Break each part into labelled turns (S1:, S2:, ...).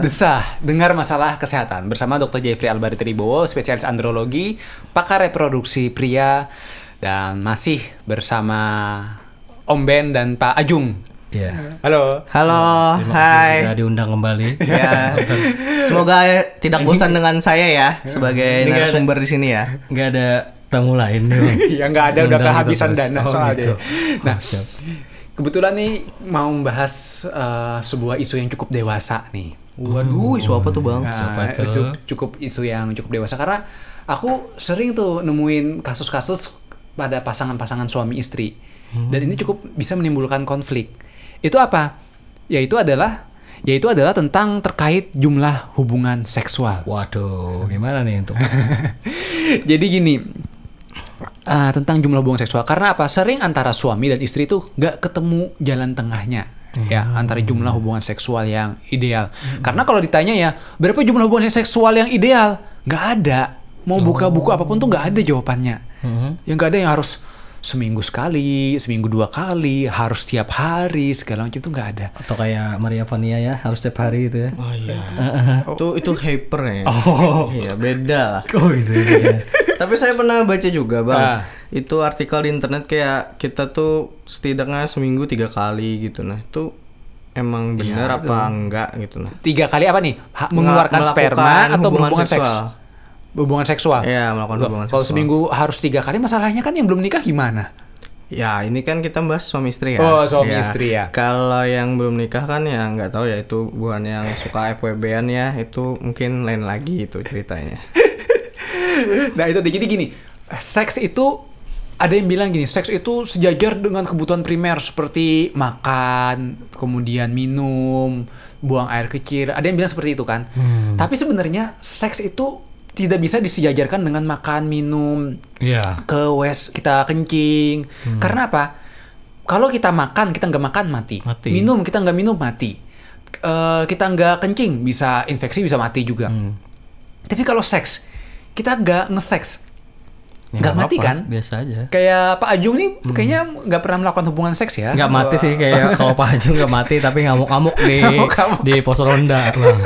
S1: Desah, dengar masalah kesehatan bersama Dr. Jeffrey Albari Tribowo, spesialis andrologi, pakar reproduksi pria, dan masih bersama Om Ben dan Pak Ajung.
S2: Iya.
S1: Halo.
S3: Halo,
S2: Terima kasih
S3: hai.
S2: sudah diundang kembali.
S1: Iya.
S3: Ya, semoga tidak bosan dengan saya ya sebagai
S2: Ini nggak ada-
S3: narasumber di sini ya.
S2: Nggak ada tamu lain nih. Bang.
S1: Ya nggak ada, udah
S2: Undang
S1: kehabisan
S2: kita terus.
S1: dana
S2: Oh,
S1: soalnya.
S2: gitu.
S1: Nah,
S2: Oh, siap.
S1: kebetulan nih mau membahas eh, sebuah isu yang cukup dewasa nih.
S3: Waduh, isu apa tuh bang?
S1: Nah,
S2: Siapa tuh?
S1: isu cukup isu yang cukup dewasa karena aku sering tuh nemuin kasus-kasus pada pasangan-pasangan suami istri dan ini cukup bisa menimbulkan konflik itu apa yaitu adalah yaitu adalah tentang terkait jumlah hubungan seksual
S2: Waduh, gimana nih untuk
S1: jadi gini eh, tentang jumlah hubungan seksual karena apa sering antara suami dan istri tuh nggak ketemu jalan tengahnya ya
S3: Hmm.
S1: antara jumlah hubungan seksual yang ideal karena kalau ditanya ya berapa jumlah hubungan seksual yang ideal nggak ada mau buka buku
S3: Oh.
S1: apapun tuh nggak ada jawabannya
S3: Hmm.
S1: yang nggak ada yang harus seminggu sekali seminggu dua kali harus tiap hari segala macam itu nggak ada
S2: atau kayak Maria Vania ya harus tiap hari gitu ya.
S3: Oh iya. Itu itu hyper ya. Iya, beda lah.
S2: Oh gitu. ya.
S3: Tapi saya pernah baca juga bang,
S1: Ah.
S3: itu artikel di internet kayak kita tuh setidaknya seminggu tiga kali gitu nah itu
S2: Iya,
S3: emang bener apa enggak gitu nah.
S1: tiga kali apa nih Ha-
S3: Mela-
S1: mengeluarkan
S3: melakukan
S1: sperma atau
S3: hubungan
S1: berhubungan seks
S3: seksual.
S1: hubungan
S2: Ah.
S1: seksual
S3: Iya melakukan
S1: Loh,
S3: hubungan
S1: Kalau
S3: seksual.
S1: seminggu harus tiga kali, masalahnya kan yang belum nikah gimana?
S3: Ya ini kan kita bahas suami istri ya.
S1: Oh, suami istri ya.
S3: Kalau yang belum nikah kan ya nggak tahu ya itu bukan yang suka FWB-an ya itu mungkin lain lagi itu ceritanya.
S1: Nah itu jadi gini, seks itu ada yang bilang gini, seks itu sejajar dengan kebutuhan primer seperti makan, kemudian minum, buang air kecil. Ada yang bilang seperti itu kan.
S2: Hmm.
S1: Tapi sebenarnya seks itu tidak bisa disejajarkan dengan makan, minum,
S2: Iya.
S1: ke wes kita kencing.
S2: Hmm.
S1: Karena apa? Kalau kita makan kita nggak makan mati.
S2: Mati.
S1: Minum kita nggak minum mati. Eh, kita nggak kencing bisa infeksi bisa mati juga.
S2: Hmm.
S1: Tapi kalau seks kita nggak ngeseks
S2: Ya,
S1: nggak mati
S2: apa-apa,
S1: kan?
S2: Biasa aja.
S1: Kayak Pak Ajung nih kayaknya nggak pernah melakukan hubungan seks ya?
S2: Nggak mati sih kayak kalau Pak Haji nggak mati tapi ngamuk-ngamuk di
S1: Ngamuk-ngamuk.
S2: di pos ronda. Bang.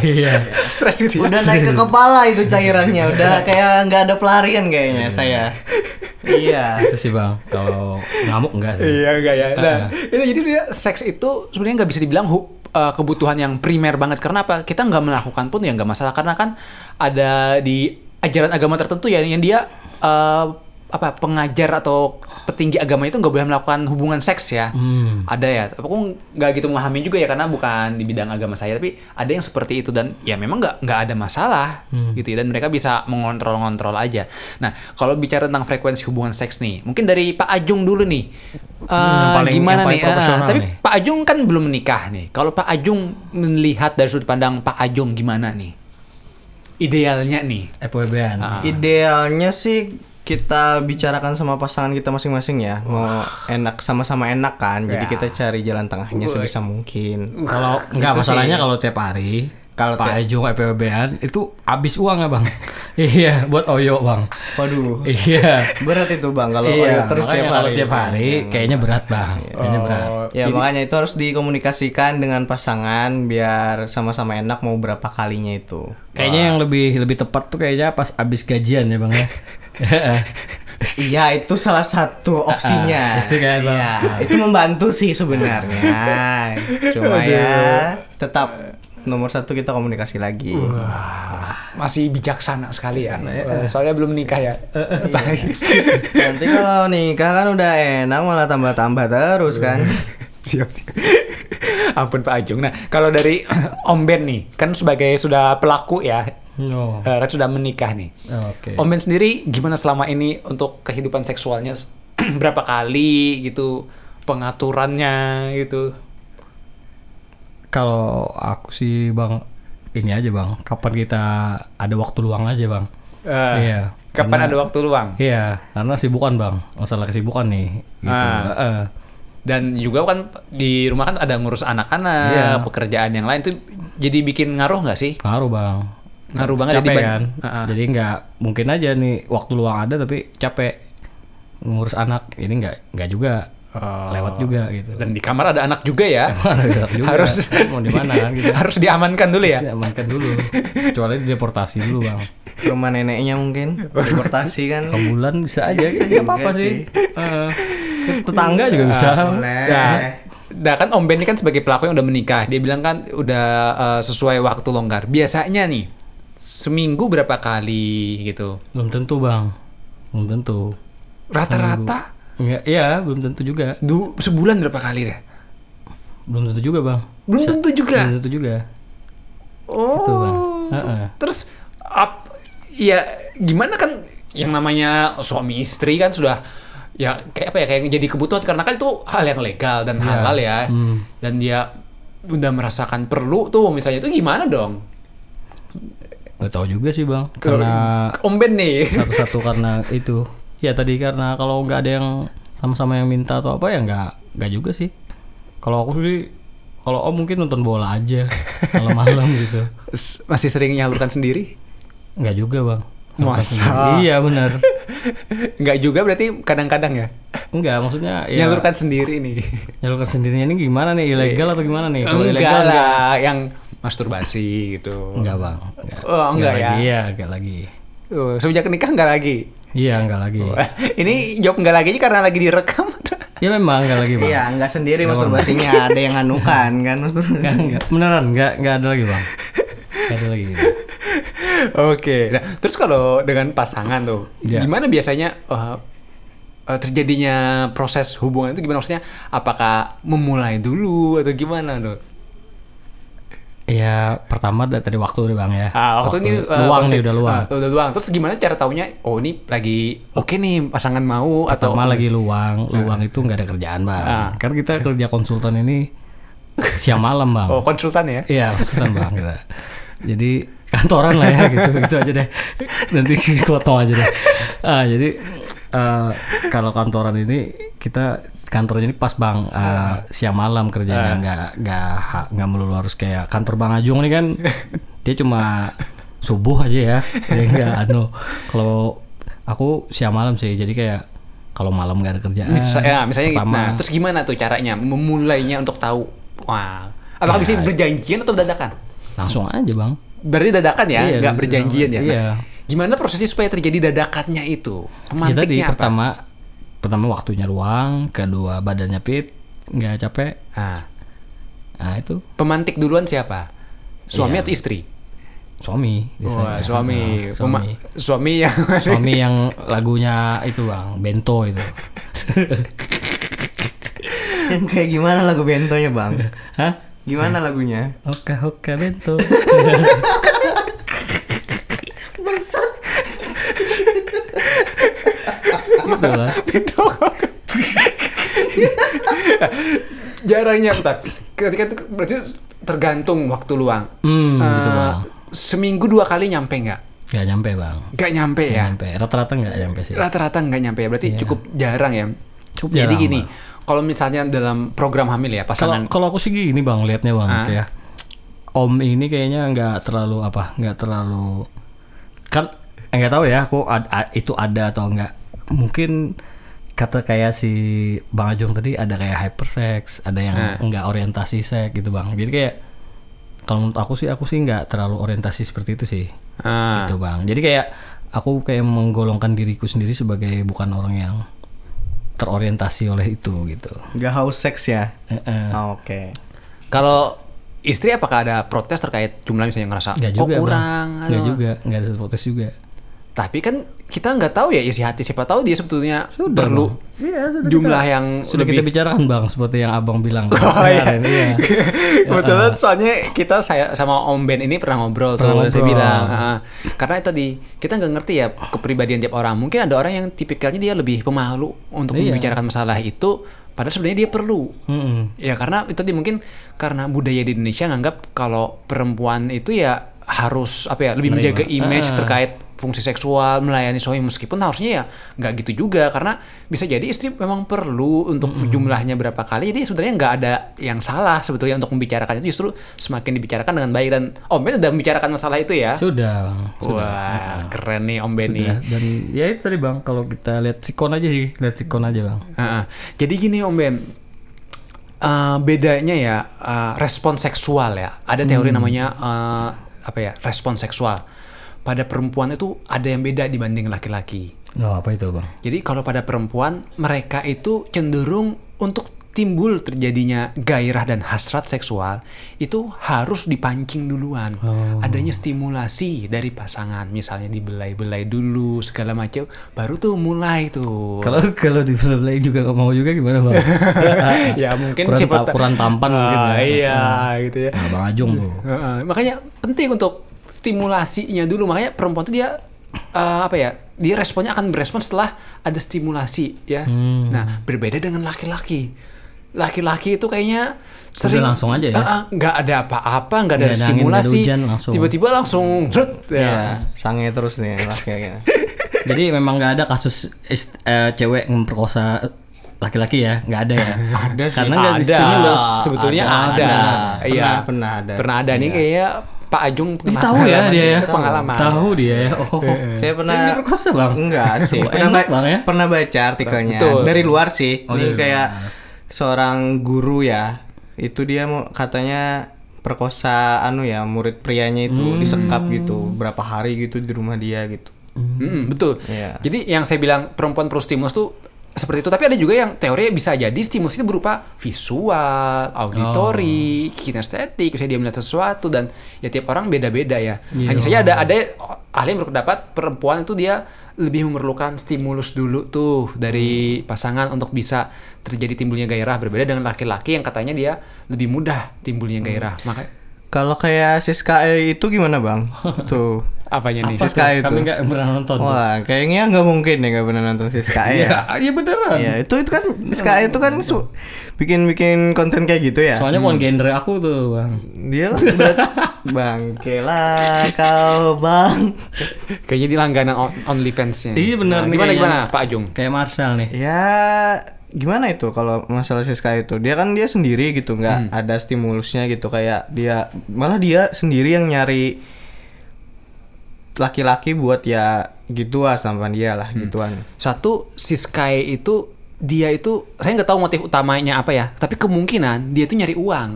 S2: Iya.
S1: Stres gitu. ya.
S3: Udah naik ke kepala itu cairannya, udah kayak nggak ada pelarian kayaknya saya. Iya.
S2: Itu sih bang. Kalau ngamuk enggak sih.
S1: Iya enggak ya. Nah, itu jadi sebenarnya seks itu sebenarnya nggak bisa dibilang hu- eh, kebutuhan yang primer banget. Karena apa? Kita nggak melakukan pun ya nggak masalah karena kan ada di ajaran agama tertentu ya yang dia eh, apa pengajar atau petinggi agama itu nggak boleh melakukan hubungan seks ya.
S2: Hmm.
S1: Ada ya. Tapi aku nggak gitu memahami juga ya karena bukan di bidang agama saya. Tapi ada yang seperti itu dan ya memang nggak nggak ada masalah
S2: Hmm.
S1: gitu ya. Dan mereka bisa mengontrol-ngontrol aja. Nah kalau bicara tentang frekuensi hubungan seks nih, mungkin dari Pak Ajung dulu nih. Eh,
S2: Hmm, Yang paling-
S1: gimana
S2: yang paling
S1: nih? Ah,
S2: profesional
S1: tapi
S2: nih.
S1: Pak Ajung kan belum menikah nih. Kalau Pak Ajung melihat dari sudut pandang Pak Ajung gimana nih? Idealnya nih.
S2: FWB-an.
S3: Ah. Idealnya sih kita bicarakan sama pasangan kita masing-masing ya. Mau enak sama-sama enak kan. Jadi
S1: Ya.
S3: kita cari jalan tengahnya sebisa mungkin.
S2: Kalau nggak
S3: Itu
S2: masalahnya
S3: sih.
S2: kalau tiap hari
S3: Kalau
S2: Pak
S3: tiap-
S2: Ejo FWB-an itu habis uang ya bang? iya, buat oyo bang.
S3: Waduh.
S2: Iya.
S3: Berat itu Bang kalau
S2: iya,
S3: oil terus
S2: makanya
S3: tiap
S2: kalau
S3: hari. Iya,
S2: tiap hari kayaknya berat bang. Kayaknya berat.
S3: Ya makanya itu harus dikomunikasikan dengan pasangan biar sama-sama enak mau berapa kalinya itu.
S2: Kayaknya yang lebih lebih tepat tuh kayaknya pas habis gajian ya bang ya.
S3: Iya itu salah satu opsinya.
S2: itu kan, Bang.
S3: Iya, itu membantu sih sebenarnya. Cuma ya tetap nomor satu kita komunikasi lagi.
S1: Masih bijaksana sekali ya. Eh, Soalnya belum menikah ya.
S3: Nanti kalau nikah kan udah enak malah tambah-tambah terus kan.
S1: siap siap ampun Pak Ajung nah kalau dari Om Ben nih kan sebagai sudah pelaku ya
S2: no.
S1: eh, kan sudah menikah nih
S2: Oh. Oke.
S1: Om Ben sendiri gimana selama ini untuk kehidupan seksualnya berapa kali gitu pengaturannya gitu
S2: Kalau aku sih bang ini aja bang. Kapan kita ada waktu luang aja bang?
S1: Eh,
S2: Iya.
S1: kapan ada waktu luang
S2: Iya, karena sibukan bang. Masalah kesibukan nih. Gitu.
S1: Ah.
S2: Heeh.
S1: dan juga kan di rumah kan ada ngurus anak-anak
S2: Iya.
S1: pekerjaan yang lain tuh jadi bikin ngaruh nggak sih
S2: Ngaruh bang.
S1: ngaruh banget ya
S2: capek
S1: jadi
S2: kan jadi nggak mungkin aja nih waktu luang ada tapi capek ngurus anak ini nggak nggak juga
S1: eh,
S2: lewat juga gitu.
S1: dan di kamar ada anak juga ya
S2: Ada juga.
S1: harus
S2: mau di mana kan gitu.
S1: harus diamankan dulu ya
S2: Amankan dulu. Kecuali deportasi dulu, Bang.
S3: rumah neneknya mungkin deportasi kan
S2: Kebulan bisa aja
S3: Bisa
S2: gitu. Nggak apa-apa
S3: juga Iya,
S2: sih. Eh, tetangga juga bisa. Ya.
S3: boleh
S1: Nah, nah kan Om Ben ini kan sebagai pelaku yang udah menikah, dia bilang kan udah eh, sesuai waktu longgar. Biasanya nih seminggu berapa kali gitu?
S2: Belum tentu, Bang. Belum tentu.
S1: Rata-rata
S2: Enggak, iya, belum tentu juga.
S1: du- sebulan berapa kali deh?
S2: Belum tentu juga, Bang.
S1: Belum tentu juga.
S2: Belum tentu juga.
S1: Oh.
S2: Gitu, Bang. Heeh.
S1: Terus up ya gimana kan yang namanya suami istri kan sudah ya kayak apa ya kayak jadi kebutuhan karena kan itu hal yang legal dan halal ya.
S2: Hmm.
S1: Dan dia udah merasakan perlu tuh misalnya itu gimana dong?
S2: Nggak tahu juga sih, Bang. Karena
S1: Om Ben nih.
S2: satu-satu karena itu ya tadi karena kalau nggak ada yang sama-sama yang minta atau apa ya nggak nggak juga sih kalau aku sih kalau om mungkin nonton bola aja malam-malam gitu
S1: S- masih sering nyalurkan sendiri?
S2: nggak juga bang
S1: Masa?
S2: iya benar
S1: Nggak juga berarti kadang-kadang ya?
S2: nggak maksudnya ya nyalurkan.
S1: Nyalurkan sendiri nih.
S2: sendirinya ini gimana nih ilegal atau gimana nih kalau
S1: Enggak
S2: ilegal nggak-
S1: lah, yang masturbasi gitu.
S2: nggak bang nggak.
S1: Oh, nggak ya?
S2: lagi iya nggak lagi
S1: Tuh, semenjak nikah nggak lagi.
S2: iya nggak lagi
S1: Oh. Ini jawab nggak lagi karena lagi direkam.
S2: ya memang nggak lagi bang
S3: iya nggak sendiri masturbasinya ada yang anukan kan masturbasi
S2: Nggak, beneran nggak nggak ada lagi bang nggak ada lagi
S1: Oke. Nah, terus kalau dengan pasangan tuh,
S2: Iya.
S1: gimana biasanya eh, eh, terjadinya proses hubungan itu gimana maksudnya? Apakah memulai dulu atau gimana tuh?
S2: Ya pertama da- dari waktu nih bang ya.
S1: Ah, waktu ini uh,
S2: luang
S1: konsep-
S2: nih udah luang.
S1: Ah, udah luang. Terus gimana cara taunya? Oh, ini lagi oke nih pasangan mau atau
S2: Pertama lagi luang, luang itu nggak ada kerjaan bang.
S1: Eh. Ah.
S2: Kan kita kerja konsultan ini siang malam bang.
S1: Oh, konsultan ya.
S2: Iya konsultan bang kita. Jadi kantoran lah ya gitu gitu aja deh. Nanti dipotong aja deh. Ah, jadi eh, kalau kantoran ini kita kantornya ini pas bang eh, siang malam
S1: Ah.
S2: kerjanya nggak nggak ha- nggak melulu harus kayak kantor bang Ajung nih kan dia cuma subuh aja ya jadi nggak anu kalau aku siang malam sih jadi kayak kalau malam nggak ada kerjaan
S1: Mis- ya, misalnya gitu.
S2: Eh, pertama.
S1: Nah, terus gimana tuh caranya memulainya untuk tahu? Wah.
S2: Iya.
S1: Apakah bisa berjanjian atau dadakan?
S2: langsung aja bang
S1: Berarti dadakan ya,
S2: Iya,
S1: nggak
S2: dadakan.
S1: berjanjian ya. Nah,
S2: Iya.
S1: gimana prosesnya supaya terjadi dadakannya itu?
S2: Ya tadi
S1: Pemantiknya apa?
S2: pertama pertama waktunya ruang, kedua badannya fit, nggak capek.
S1: Ah,
S2: Nah, itu
S1: pemantik duluan siapa? Suami atau istri?
S2: suami
S1: Wah,
S2: Iya. biasanya.
S1: suami.
S2: Nah,
S1: Pema-
S2: suami.
S1: suami yang
S2: Suami yang lagunya itu Bang, Bento itu.
S3: kayak gimana lagu bentonya bang
S2: Hah?
S3: gimana lagunya
S2: Oka oka Bento. Gitu lah.
S1: Pintu kok. Jarangnya bentar. Ketika itu berarti tergantung waktu luang.
S2: Hmm, gitu
S1: Eh,
S2: Bang.
S1: seminggu dua kali nyampe nggak?
S2: Nggak nyampe, Bang.
S1: Nggak nyampe ya.
S2: Nyampe. Rata-rata nggak nyampe sih.
S1: Rata-rata nggak nyampe ya. Berarti cukup jarang ya.
S2: Cukup
S1: Jadi
S2: jarang,
S1: gini, kalau misalnya dalam program hamil ya
S2: Kalau
S1: pasangan.
S2: kalau aku sih gini bang liatnya bang
S1: Ah.
S2: ya. Om ini kayaknya nggak terlalu apa nggak terlalu kan eh, nggak tahu ya aku ad- a- itu ada atau nggak mungkin kata kayak si Bang Ajung tadi ada kayak hypersex ada yang
S1: Ah.
S2: nggak orientasi seks gitu bang jadi kayak kalau menurut aku sih aku sih nggak terlalu orientasi seperti itu sih
S1: Ah,
S2: gitu bang jadi kayak aku kayak menggolongkan diriku sendiri sebagai bukan orang yang terorientasi oleh itu gitu
S3: Gak haus seks ya?
S2: Eh, eh.
S3: Ah, Oke.
S1: Kalau istri apakah ada protes terkait jumlah misalnya ngerasa
S2: Nggak
S1: kok
S2: juga, Bang.
S1: kurang?
S2: Nggak
S1: atau-
S2: juga, nggak ada satu protes juga.
S1: Tapi kan kita nggak tahu ya isi hati siapa tahu dia sebetulnya perlu jumlah yang
S2: Sudah
S1: lebih
S2: kita bicarakan bang, seperti yang abang bilang
S1: Oh iya.
S2: kemarin. iya.
S1: Kebetulan soalnya kita saya sama Om Ben ini pernah ngobrol tuh
S2: Pernah
S1: saya
S2: ngobrol.
S1: bilang "Ah, karena itu tadi kita nggak ngerti ya kepribadian tiap orang. Mungkin ada orang yang tipikalnya dia lebih pemalu untuk
S2: Iya.
S1: membicarakan masalah itu padahal sebenarnya dia perlu.
S2: Mm-mm.
S1: Ya karena itu tadi mungkin karena budaya di
S2: Ah.
S1: Indonesia nganggap kalau perempuan itu ya harus apa ya lebih menjaga image terkait fungsi seksual melayani suami meskipun harusnya ya nggak gitu juga karena bisa jadi istri memang perlu untuk jumlahnya berapa kali jadi sebenarnya nggak ada yang salah sebetulnya untuk membicarakan itu justru semakin dibicarakan dengan baik dan Om Ben sudah membicarakan masalah itu ya
S2: Sudah, Bang. Sudah. Ah.
S1: wah keren nih Om Ben nih
S2: Sudah. Dan ya itu tadi Bang, kalau kita lihat sikon aja sih, lihat sikon aja Bang.
S1: Heeh. Jadi gini Om Ben, Eh, bedanya ya eh, respon seksual ya. Ada teori namanya eh, apa ya respon seksual. Pada perempuan itu ada yang beda dibanding laki-laki.
S2: Oh, apa itu Bang?
S1: Jadi kalau pada perempuan mereka itu cenderung untuk timbul terjadinya gairah dan hasrat seksual itu harus dipancing duluan. Adanya stimulasi dari pasangan, misalnya dibelai-belai dulu segala macam, baru tuh mulai tuh.
S2: Kalau kalau di belai juga nggak mau juga gimana Bang?
S1: ya mungkin
S2: kurang,
S1: siapa
S2: ta-
S1: ta-
S2: kurang tampan mungkin.
S1: Ah,
S2: ya.
S1: iya gitu ya
S2: Nah, Bang Ajung tuh.
S1: Heeh, makanya penting untuk stimulasinya dulu makanya perempuan tuh dia eh, apa ya dia responnya akan berespon setelah ada stimulasi ya
S2: Hmm.
S1: nah berbeda dengan laki-laki laki-laki itu kayaknya sering
S2: Udah langsung aja ya?
S1: Eh, eh, nggak ada apa-apa nggak ada,
S2: Nggak ada angin,
S1: stimulasi
S2: nggak ada hujan, langsung. Iya.
S1: tiba-tiba langsung zrut, ya.
S3: Ya, sange terus nih laki-laki.
S2: Jadi memang nggak ada kasus ist- eh, cewek memperkosa laki-laki ya, nggak ada ya.
S3: Ada sih.
S2: Karena nggak
S1: Ada.
S2: distimulus.
S1: sebetulnya ada,
S3: Pernah,
S1: Iya.
S3: pernah, pernah ada.
S1: pernah ada nih kayaknya Pak Ajung
S2: Dia
S1: pernah
S2: tahu Iya. ya
S1: pengalaman-
S2: dia ya.
S1: pengalaman Iya.
S2: Tahu dia ya. Oh.
S3: Saya pernah
S2: Saya diperkosa, Bang.
S3: Enggak sih.
S2: Wah,
S3: pernah,
S2: enak,
S3: ba-
S2: Bang, ya?
S3: pernah baca artikelnya
S1: Betul.
S3: dari luar sih.
S2: Oh,
S3: Ini
S2: dari
S3: kayak seorang guru ya. Itu dia mau katanya perkosa anu ya murid
S2: Hmm.
S3: prianya itu disekap gitu berapa hari gitu di rumah dia gitu.
S1: Mm-mm, betul.
S3: Iya.
S1: Jadi yang saya bilang perempuan pro stimulus tuh seperti itu. Tapi ada juga yang teori bisa jadi stimulus itu berupa visual, auditory, kinestetik. Bisa dia melihat sesuatu dan ya tiap orang beda-beda ya.
S2: Iya.
S1: Hanya saja ada ada ahli yang berpendapat perempuan itu dia lebih memerlukan stimulus dulu tuh dari pasangan untuk bisa terjadi timbulnya gairah berbeda dengan laki-laki yang katanya dia lebih mudah timbulnya gairah. Maka
S3: Kalau kayak Siska E itu gimana bang? Tuh.
S1: apanya nih?
S3: Apa? Siska itu.
S2: Kami nggak pernah nonton.
S3: Wah kayaknya nggak mungkin ya nggak pernah nonton Siska E ya.
S1: Ah,
S2: Iya, iya beneran.
S3: Iya itu itu kan Siska E itu kan su- bikin-bikin konten kayak gitu ya.
S2: Soalnya
S1: Hmm.
S2: bukan genre aku tuh, Bang.
S3: Dia lah berat bangkelah kau bang.
S1: Kayaknya di langganan on- OnlyFans-nya.
S2: Iya, benar nih
S1: gimana
S2: kayaknya.
S1: gimana Pak Ajung?
S2: Kayak Marcel nih.
S3: Ya gimana itu kalau masalah Siska itu dia kan dia sendiri gitu nggak ada stimulusnya gitu kayak dia malah dia sendiri yang nyari laki-laki buat ya gitu ah sama dia lah gituan
S1: Satu, si Sky itu dia itu saya nggak tahu motif utamanya apa ya, tapi kemungkinan dia itu nyari uang,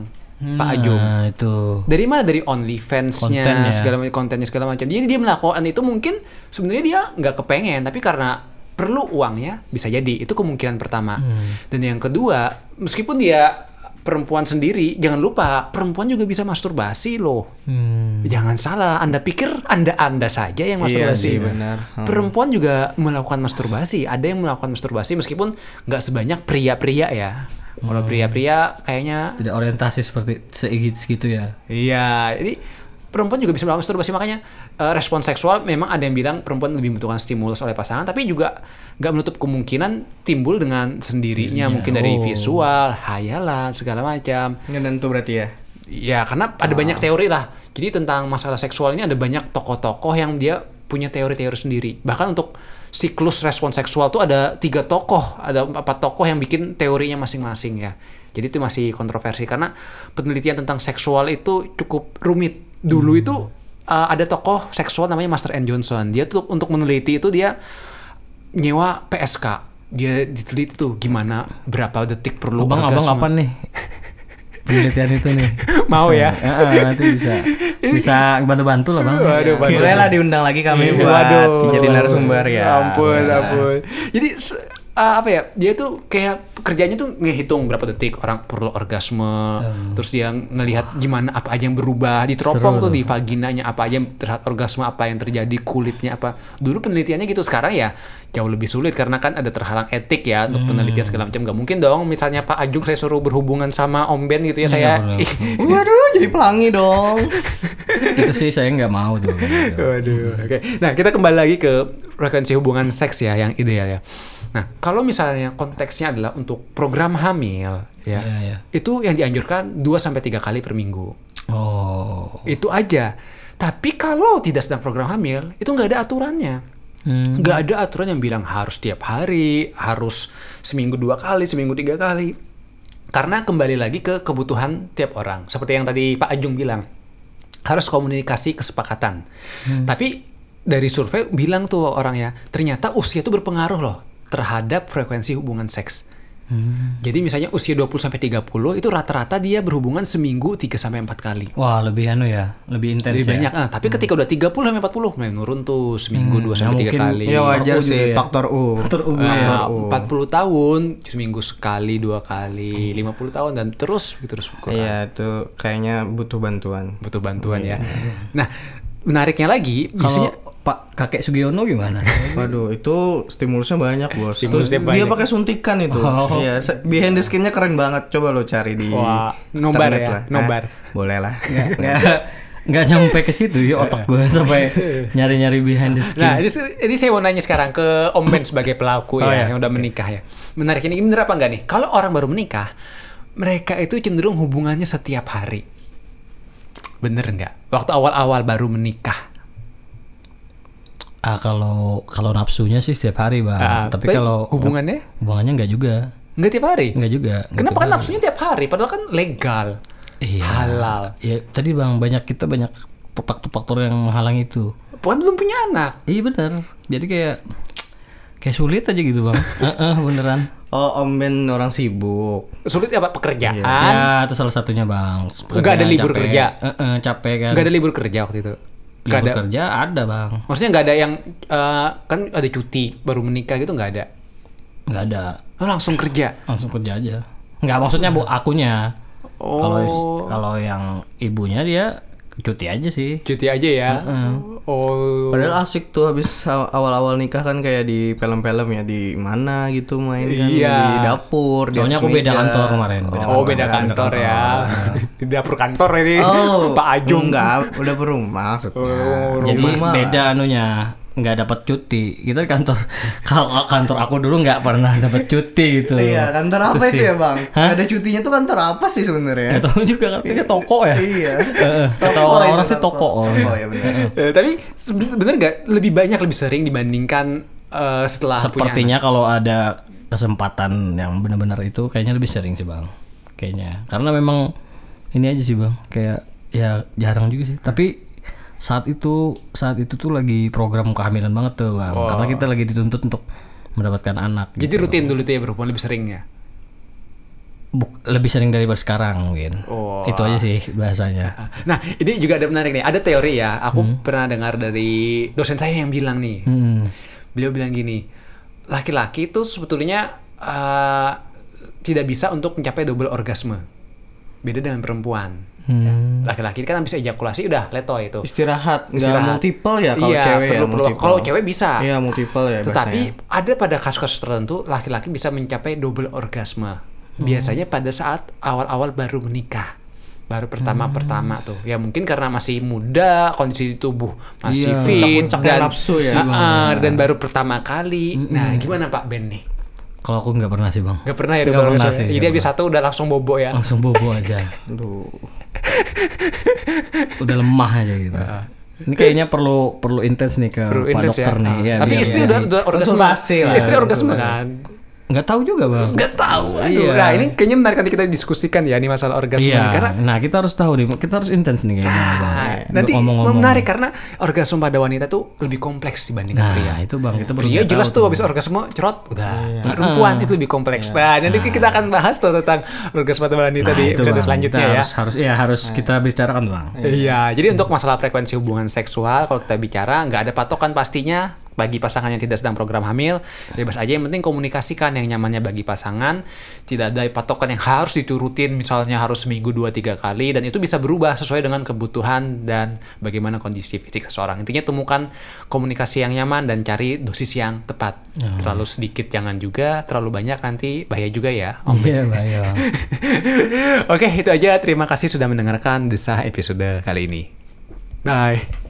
S1: Pak Ajum.
S2: Nah, itu.
S1: Dari mana dari OnlyFans-nya
S2: Konten ya.
S1: segala macam kontennya segala macam. Jadi dia melakukan itu mungkin sebenarnya dia nggak kepengen, tapi karena perlu uangnya bisa jadi itu kemungkinan pertama. Dan yang kedua, meskipun dia perempuan sendiri, jangan lupa perempuan juga bisa masturbasi loh.
S2: Hmm.
S1: Jangan salah, Anda pikir Anda-anda saja yang
S3: Iya
S1: masturbasi. ya?
S3: sih, benar. Hmm.
S1: Perempuan juga melakukan masturbasi. Ada yang melakukan masturbasi meskipun nggak sebanyak pria-pria ya. Kalau
S3: Hmm.
S1: pria-pria kayaknya
S2: Tidak orientasi seperti seigit segitu ya.
S1: iya, jadi perempuan juga bisa melakukan masturbasi makanya eh, respon seksual memang ada yang bilang perempuan lebih membutuhkan stimulus oleh pasangan tapi juga nggak menutup kemungkinan timbul dengan sendirinya
S3: Iya.
S1: mungkin dari
S2: Oh.
S1: visual, hayalan, segala macam.
S3: tentu berarti ya
S1: Ya karena ada
S2: Ah.
S1: banyak teori lah. Jadi tentang masalah seksual ini ada banyak tokoh-tokoh yang dia punya teori-teori sendiri. Bahkan untuk siklus respon seksual tuh ada tiga tokoh, ada empat tokoh yang bikin teorinya masing-masing ya. Jadi itu masih kontroversi karena penelitian tentang seksual itu cukup rumit. Dulu
S2: Hmm.
S1: itu uh, ada tokoh seksual namanya Master N Johnson. Dia tuh untuk meneliti itu dia nyewa PSK. Dia diteliti tuh gimana berapa detik perlu
S2: Abang, abang
S1: orgasme.
S2: kapan nih? Penelitian itu nih.
S1: Mau
S2: Bisa.
S1: ya?
S2: Heeh, nanti bisa. Bisa bantu-bantu lah, Bang.
S1: Waduh, bantu.
S3: bolehlah diundang lagi
S1: Iya.
S3: kami buat
S1: Waduh.
S3: jadi narasumber ya
S1: Ampun,
S3: Boleh.
S1: ampun. Jadi se- uh, apa ya? Dia tuh kayak kerjanya tuh ngehitung berapa detik orang perlu orgasme,
S3: Hmm.
S1: terus dia ngelihat gimana apa aja yang berubah di teropong
S2: Seru
S1: tuh
S2: tuh.
S1: di vaginanya apa aja yang terlihat orgasme, apa yang terjadi kulitnya apa. Dulu penelitiannya gitu, sekarang ya jauh lebih sulit karena kan ada terhalang etik ya untuk penelitian
S3: Hmm.
S1: segala macam. Gak mungkin dong misalnya Pak Ajung saya suruh berhubungan sama Om Ben
S3: Iya,
S1: gitu ya saya.
S3: waduh jadi pelangi dong
S2: Itu sih saya nggak mau tuh.
S1: Waduh. Oke. Nah, kita kembali lagi ke frekuensi hubungan seks ya yang ideal ya. Nah, kalau misalnya konteksnya adalah untuk program hamil ya.
S2: Iya, Oh. iya.
S1: Itu yang dianjurkan 2 sampai 3 kali per minggu.
S2: Oh.
S1: Itu aja. Tapi kalau tidak sedang program hamil, itu nggak ada aturannya
S2: Hmm.
S1: nggak ada aturan yang bilang harus tiap hari, harus seminggu dua kali, seminggu tiga kali. Karena kembali lagi ke kebutuhan tiap orang. Seperti yang tadi Pak Ajung bilang, harus komunikasi kesepakatan.
S3: Hmm.
S1: Tapi dari survei bilang tuh orangnya, ternyata usia itu berpengaruh loh terhadap frekuensi hubungan seks.
S3: Hmm.
S1: Jadi misalnya usia 20 sampai 30 itu rata-rata dia berhubungan seminggu 3 sampai 4 kali.
S2: Wah lebih anu ya, lebih intens
S1: Lebih banyak.
S2: ya.
S3: Iya.
S1: Ah, tapi ketika udah 30 sampai 40 menurun tuh seminggu 2 sampai
S2: nah
S1: 3
S2: mungkin-
S1: kali.
S3: Hmm. Ya wajar
S2: Faktor U juga
S3: sih
S2: ya.
S3: faktor U.
S2: Faktor U ya.
S1: Nah, 40 tahun seminggu sekali dua kali 50 tahun dan terus gitu terus kurang.
S3: Iya itu kayaknya butuh bantuan.
S1: butuh bantuan ya
S2: Iya.
S1: nah menariknya lagi biasanya
S2: Kalau Pak Kakek Sugiono gimana?
S3: Waduh, itu stimulusnya banyak bos.
S1: Stimulusnya
S3: Itu
S1: banyak. Oh.
S3: Dia pakai suntikan itu. Iya, se- behind the skinnya keren banget. Coba lo cari di.
S1: Wah, nobar
S3: internet
S1: ya,
S3: lah.
S1: nobar.
S3: Hah? boleh lah.
S2: Nggak nggak nyampe ke situ ya otak gue sampai nyari-nyari behind the
S1: nah
S2: scene.
S1: ini, ini saya mau nanya sekarang ke Om Ben sebagai pelaku
S2: Oh,
S1: ya yang
S2: ya,
S1: udah menikah ya menarik ini ini bener apa enggak nih kalau orang baru menikah mereka itu cenderung hubungannya setiap hari bener nggak waktu awal-awal baru menikah
S2: Ah kalau kalau nafsunya sih setiap hari bang.
S1: Ah,
S2: Nah, Tapi kalau
S1: hubungannya
S2: hubungannya nggak juga,
S1: nggak tiap hari
S2: nggak juga. Nggak
S1: kenapa kan
S2: tiap hari.
S1: nafsunya tiap hari padahal kan legal
S2: Iya.
S1: halal
S2: Ya tadi bang banyak kita banyak faktor-faktor yang menghalang itu.
S1: Puan belum punya anak.
S2: Iya benar. Jadi kayak kayak sulit aja gitu bang. Heeh, beneran.
S3: Oh, Om Ben orang sibuk.
S1: Sulit apa pekerjaan?
S2: Ya itu salah satunya bang.
S1: Nggak ada libur
S2: Capek.
S1: kerja?
S2: Heeh, capek kan.
S1: Gak ada libur kerja waktu itu. Gak
S2: libur
S1: ada.
S2: kerja ada bang.
S1: Maksudnya gak ada yang eh, kan ada cuti baru menikah gitu nggak ada.
S2: Nggak ada.
S1: Oh, langsung kerja.
S2: Langsung kerja aja. Nggak maksudnya bu akunya.
S1: Oh.
S2: Kalau kalau yang ibunya dia cuti aja sih.
S1: Cuti aja ya. Oh.
S3: Padahal asik tuh habis aw- awal-awal nikah kan kayak di film-film ya di mana gitu main kan
S1: Iya.
S3: di dapur. di
S2: Soalnya
S3: atas
S2: aku beda
S3: meja.
S2: kantor kemarin.
S1: Oh, beda kantor ya. Di dapur kantor ini.
S3: Oh,
S1: Pak Ajung.
S3: enggak, udah berumah maksudnya.
S1: Oh,
S2: Jadi
S3: Rumah.
S2: beda anunya nggak dapat cuti. Kita di kantor kalau kantor aku dulu nggak pernah dapat cuti gitu.
S3: Iya, kantor apa itu ya, Bang? Ada cutinya tuh kantor apa sih
S2: Nggak
S3: sebenarnya?
S2: tahu juga katanya toko ya.
S3: Iya.
S2: Heeh, Kata orang-orang sih toko. iya.
S3: Oh, ya benar.
S1: Eh, tapi seben- bener nggak lebih banyak lebih sering dibandingkan eh, setelah punya anak?
S2: Sepertinya kalau ada kesempatan yang benar-benar itu kayaknya lebih sering sih bang, kayaknya. Karena memang ini aja sih bang, kayak ya jarang juga sih. Tapi saat itu saat itu tuh lagi program kehamilan banget tuh bang, karena kita lagi dituntut untuk mendapatkan anak.
S1: Jadi rutin dulu tuh ya berhubungan lebih seringnya.
S2: Buk- lebih sering daripada sekarang mungkin.
S1: Wah.
S2: Itu aja sih bahasanya.
S1: Nah, ini juga ada menarik nih. Ada teori ya. Aku pernah dengar dari dosen saya yang bilang nih.
S2: Hmm.
S1: Beliau bilang gini, laki-laki itu sebetulnya eh, tidak bisa untuk mencapai double orgasme. Beda dengan perempuan. Ya. Laki-laki kan habis ejakulasi udah letoy itu.
S3: Istirahat, enggak
S1: Istirahat.
S3: multiple ya kalau
S1: Iya,
S3: cewek ya,
S1: perlu- perlu.
S3: multiple.
S1: Kalau cewek bisa.
S3: Iya, multiple ya
S1: Tetapi
S3: biasanya.
S1: ada pada kasus-kasus tertentu laki-laki bisa mencapai double orgasme.
S3: Hmm.
S1: Biasanya pada saat awal-awal baru menikah. Baru
S3: Hmm.
S1: pertama-pertama tuh. Ya mungkin karena masih muda, kondisi tubuh masih
S2: Iya.
S1: fit
S3: Puncak-puncaknya nafsu ya. Hmm.
S1: Ah, ah, dan baru pertama kali. Nah, gimana Pak Ben nih?
S2: Kalau aku nggak pernah sih bang,
S1: Gak pernah ya
S2: Nggak
S1: double
S2: pernah
S1: orgasme.
S2: sih,
S1: Jadi
S2: nggak
S1: habis satu udah langsung bobo ya.
S3: Oh,
S2: langsung bobo aja.
S3: Aduh.
S2: udah lemah aja gitu. Ini kayaknya perlu perlu intens nih ke
S1: Perlu
S2: Pak
S1: intens
S2: dokter
S1: ya.
S2: nih.
S1: Ah.
S3: iya,
S2: ya,
S1: Tapi
S2: biar-
S1: istri
S2: biar-
S1: udah, udah orgasme.
S3: Konsultasi lah.
S1: Istri orgasme kan.
S2: nggak tahu juga bang.
S1: Gak tahu. Aduh.
S2: Iya.
S1: Nah, ini kayaknya menarik nanti kita diskusikan ya nih masalah orgasme
S2: Iya.
S1: nih. karena
S2: Nah kita harus tahu nih, kita harus intens nih kayaknya. bang.
S1: Ah, nanti
S2: Ngomong-ngomong.
S1: menarik karena orgasme pada wanita tuh lebih kompleks dibandingkan
S2: Nah
S1: pria.
S2: itu bang kita baru
S1: Pria
S2: nggak
S1: Iya, jelas
S2: tahu Iya.
S1: tuh habis orgasme cerot udah. Perempuan itu lebih kompleks. Nah, nanti kita akan bahas tuh tentang orgasme pada wanita
S2: Nah,
S1: di
S2: itu,
S1: episode
S2: Bang.
S1: selanjutnya
S2: kita
S1: ya.
S2: Harus harus ya harus kita bicarakan bang.
S1: Iya, jadi untuk masalah frekuensi hubungan seksual kalau kita bicara nggak ada patokan pastinya bagi pasangan yang tidak sedang program hamil bebas aja yang penting komunikasikan yang nyamannya bagi pasangan tidak ada patokan yang harus diturutin misalnya harus seminggu 2-3 kali dan itu bisa berubah sesuai dengan kebutuhan dan bagaimana kondisi fisik seseorang intinya temukan komunikasi yang nyaman dan cari dosis yang tepat terlalu sedikit jangan juga terlalu banyak nanti bahaya juga ya Om.
S2: Iya bang. iya, Bang.
S1: Oke, itu aja. Terima kasih sudah mendengarkan desah episode kali ini. Bye.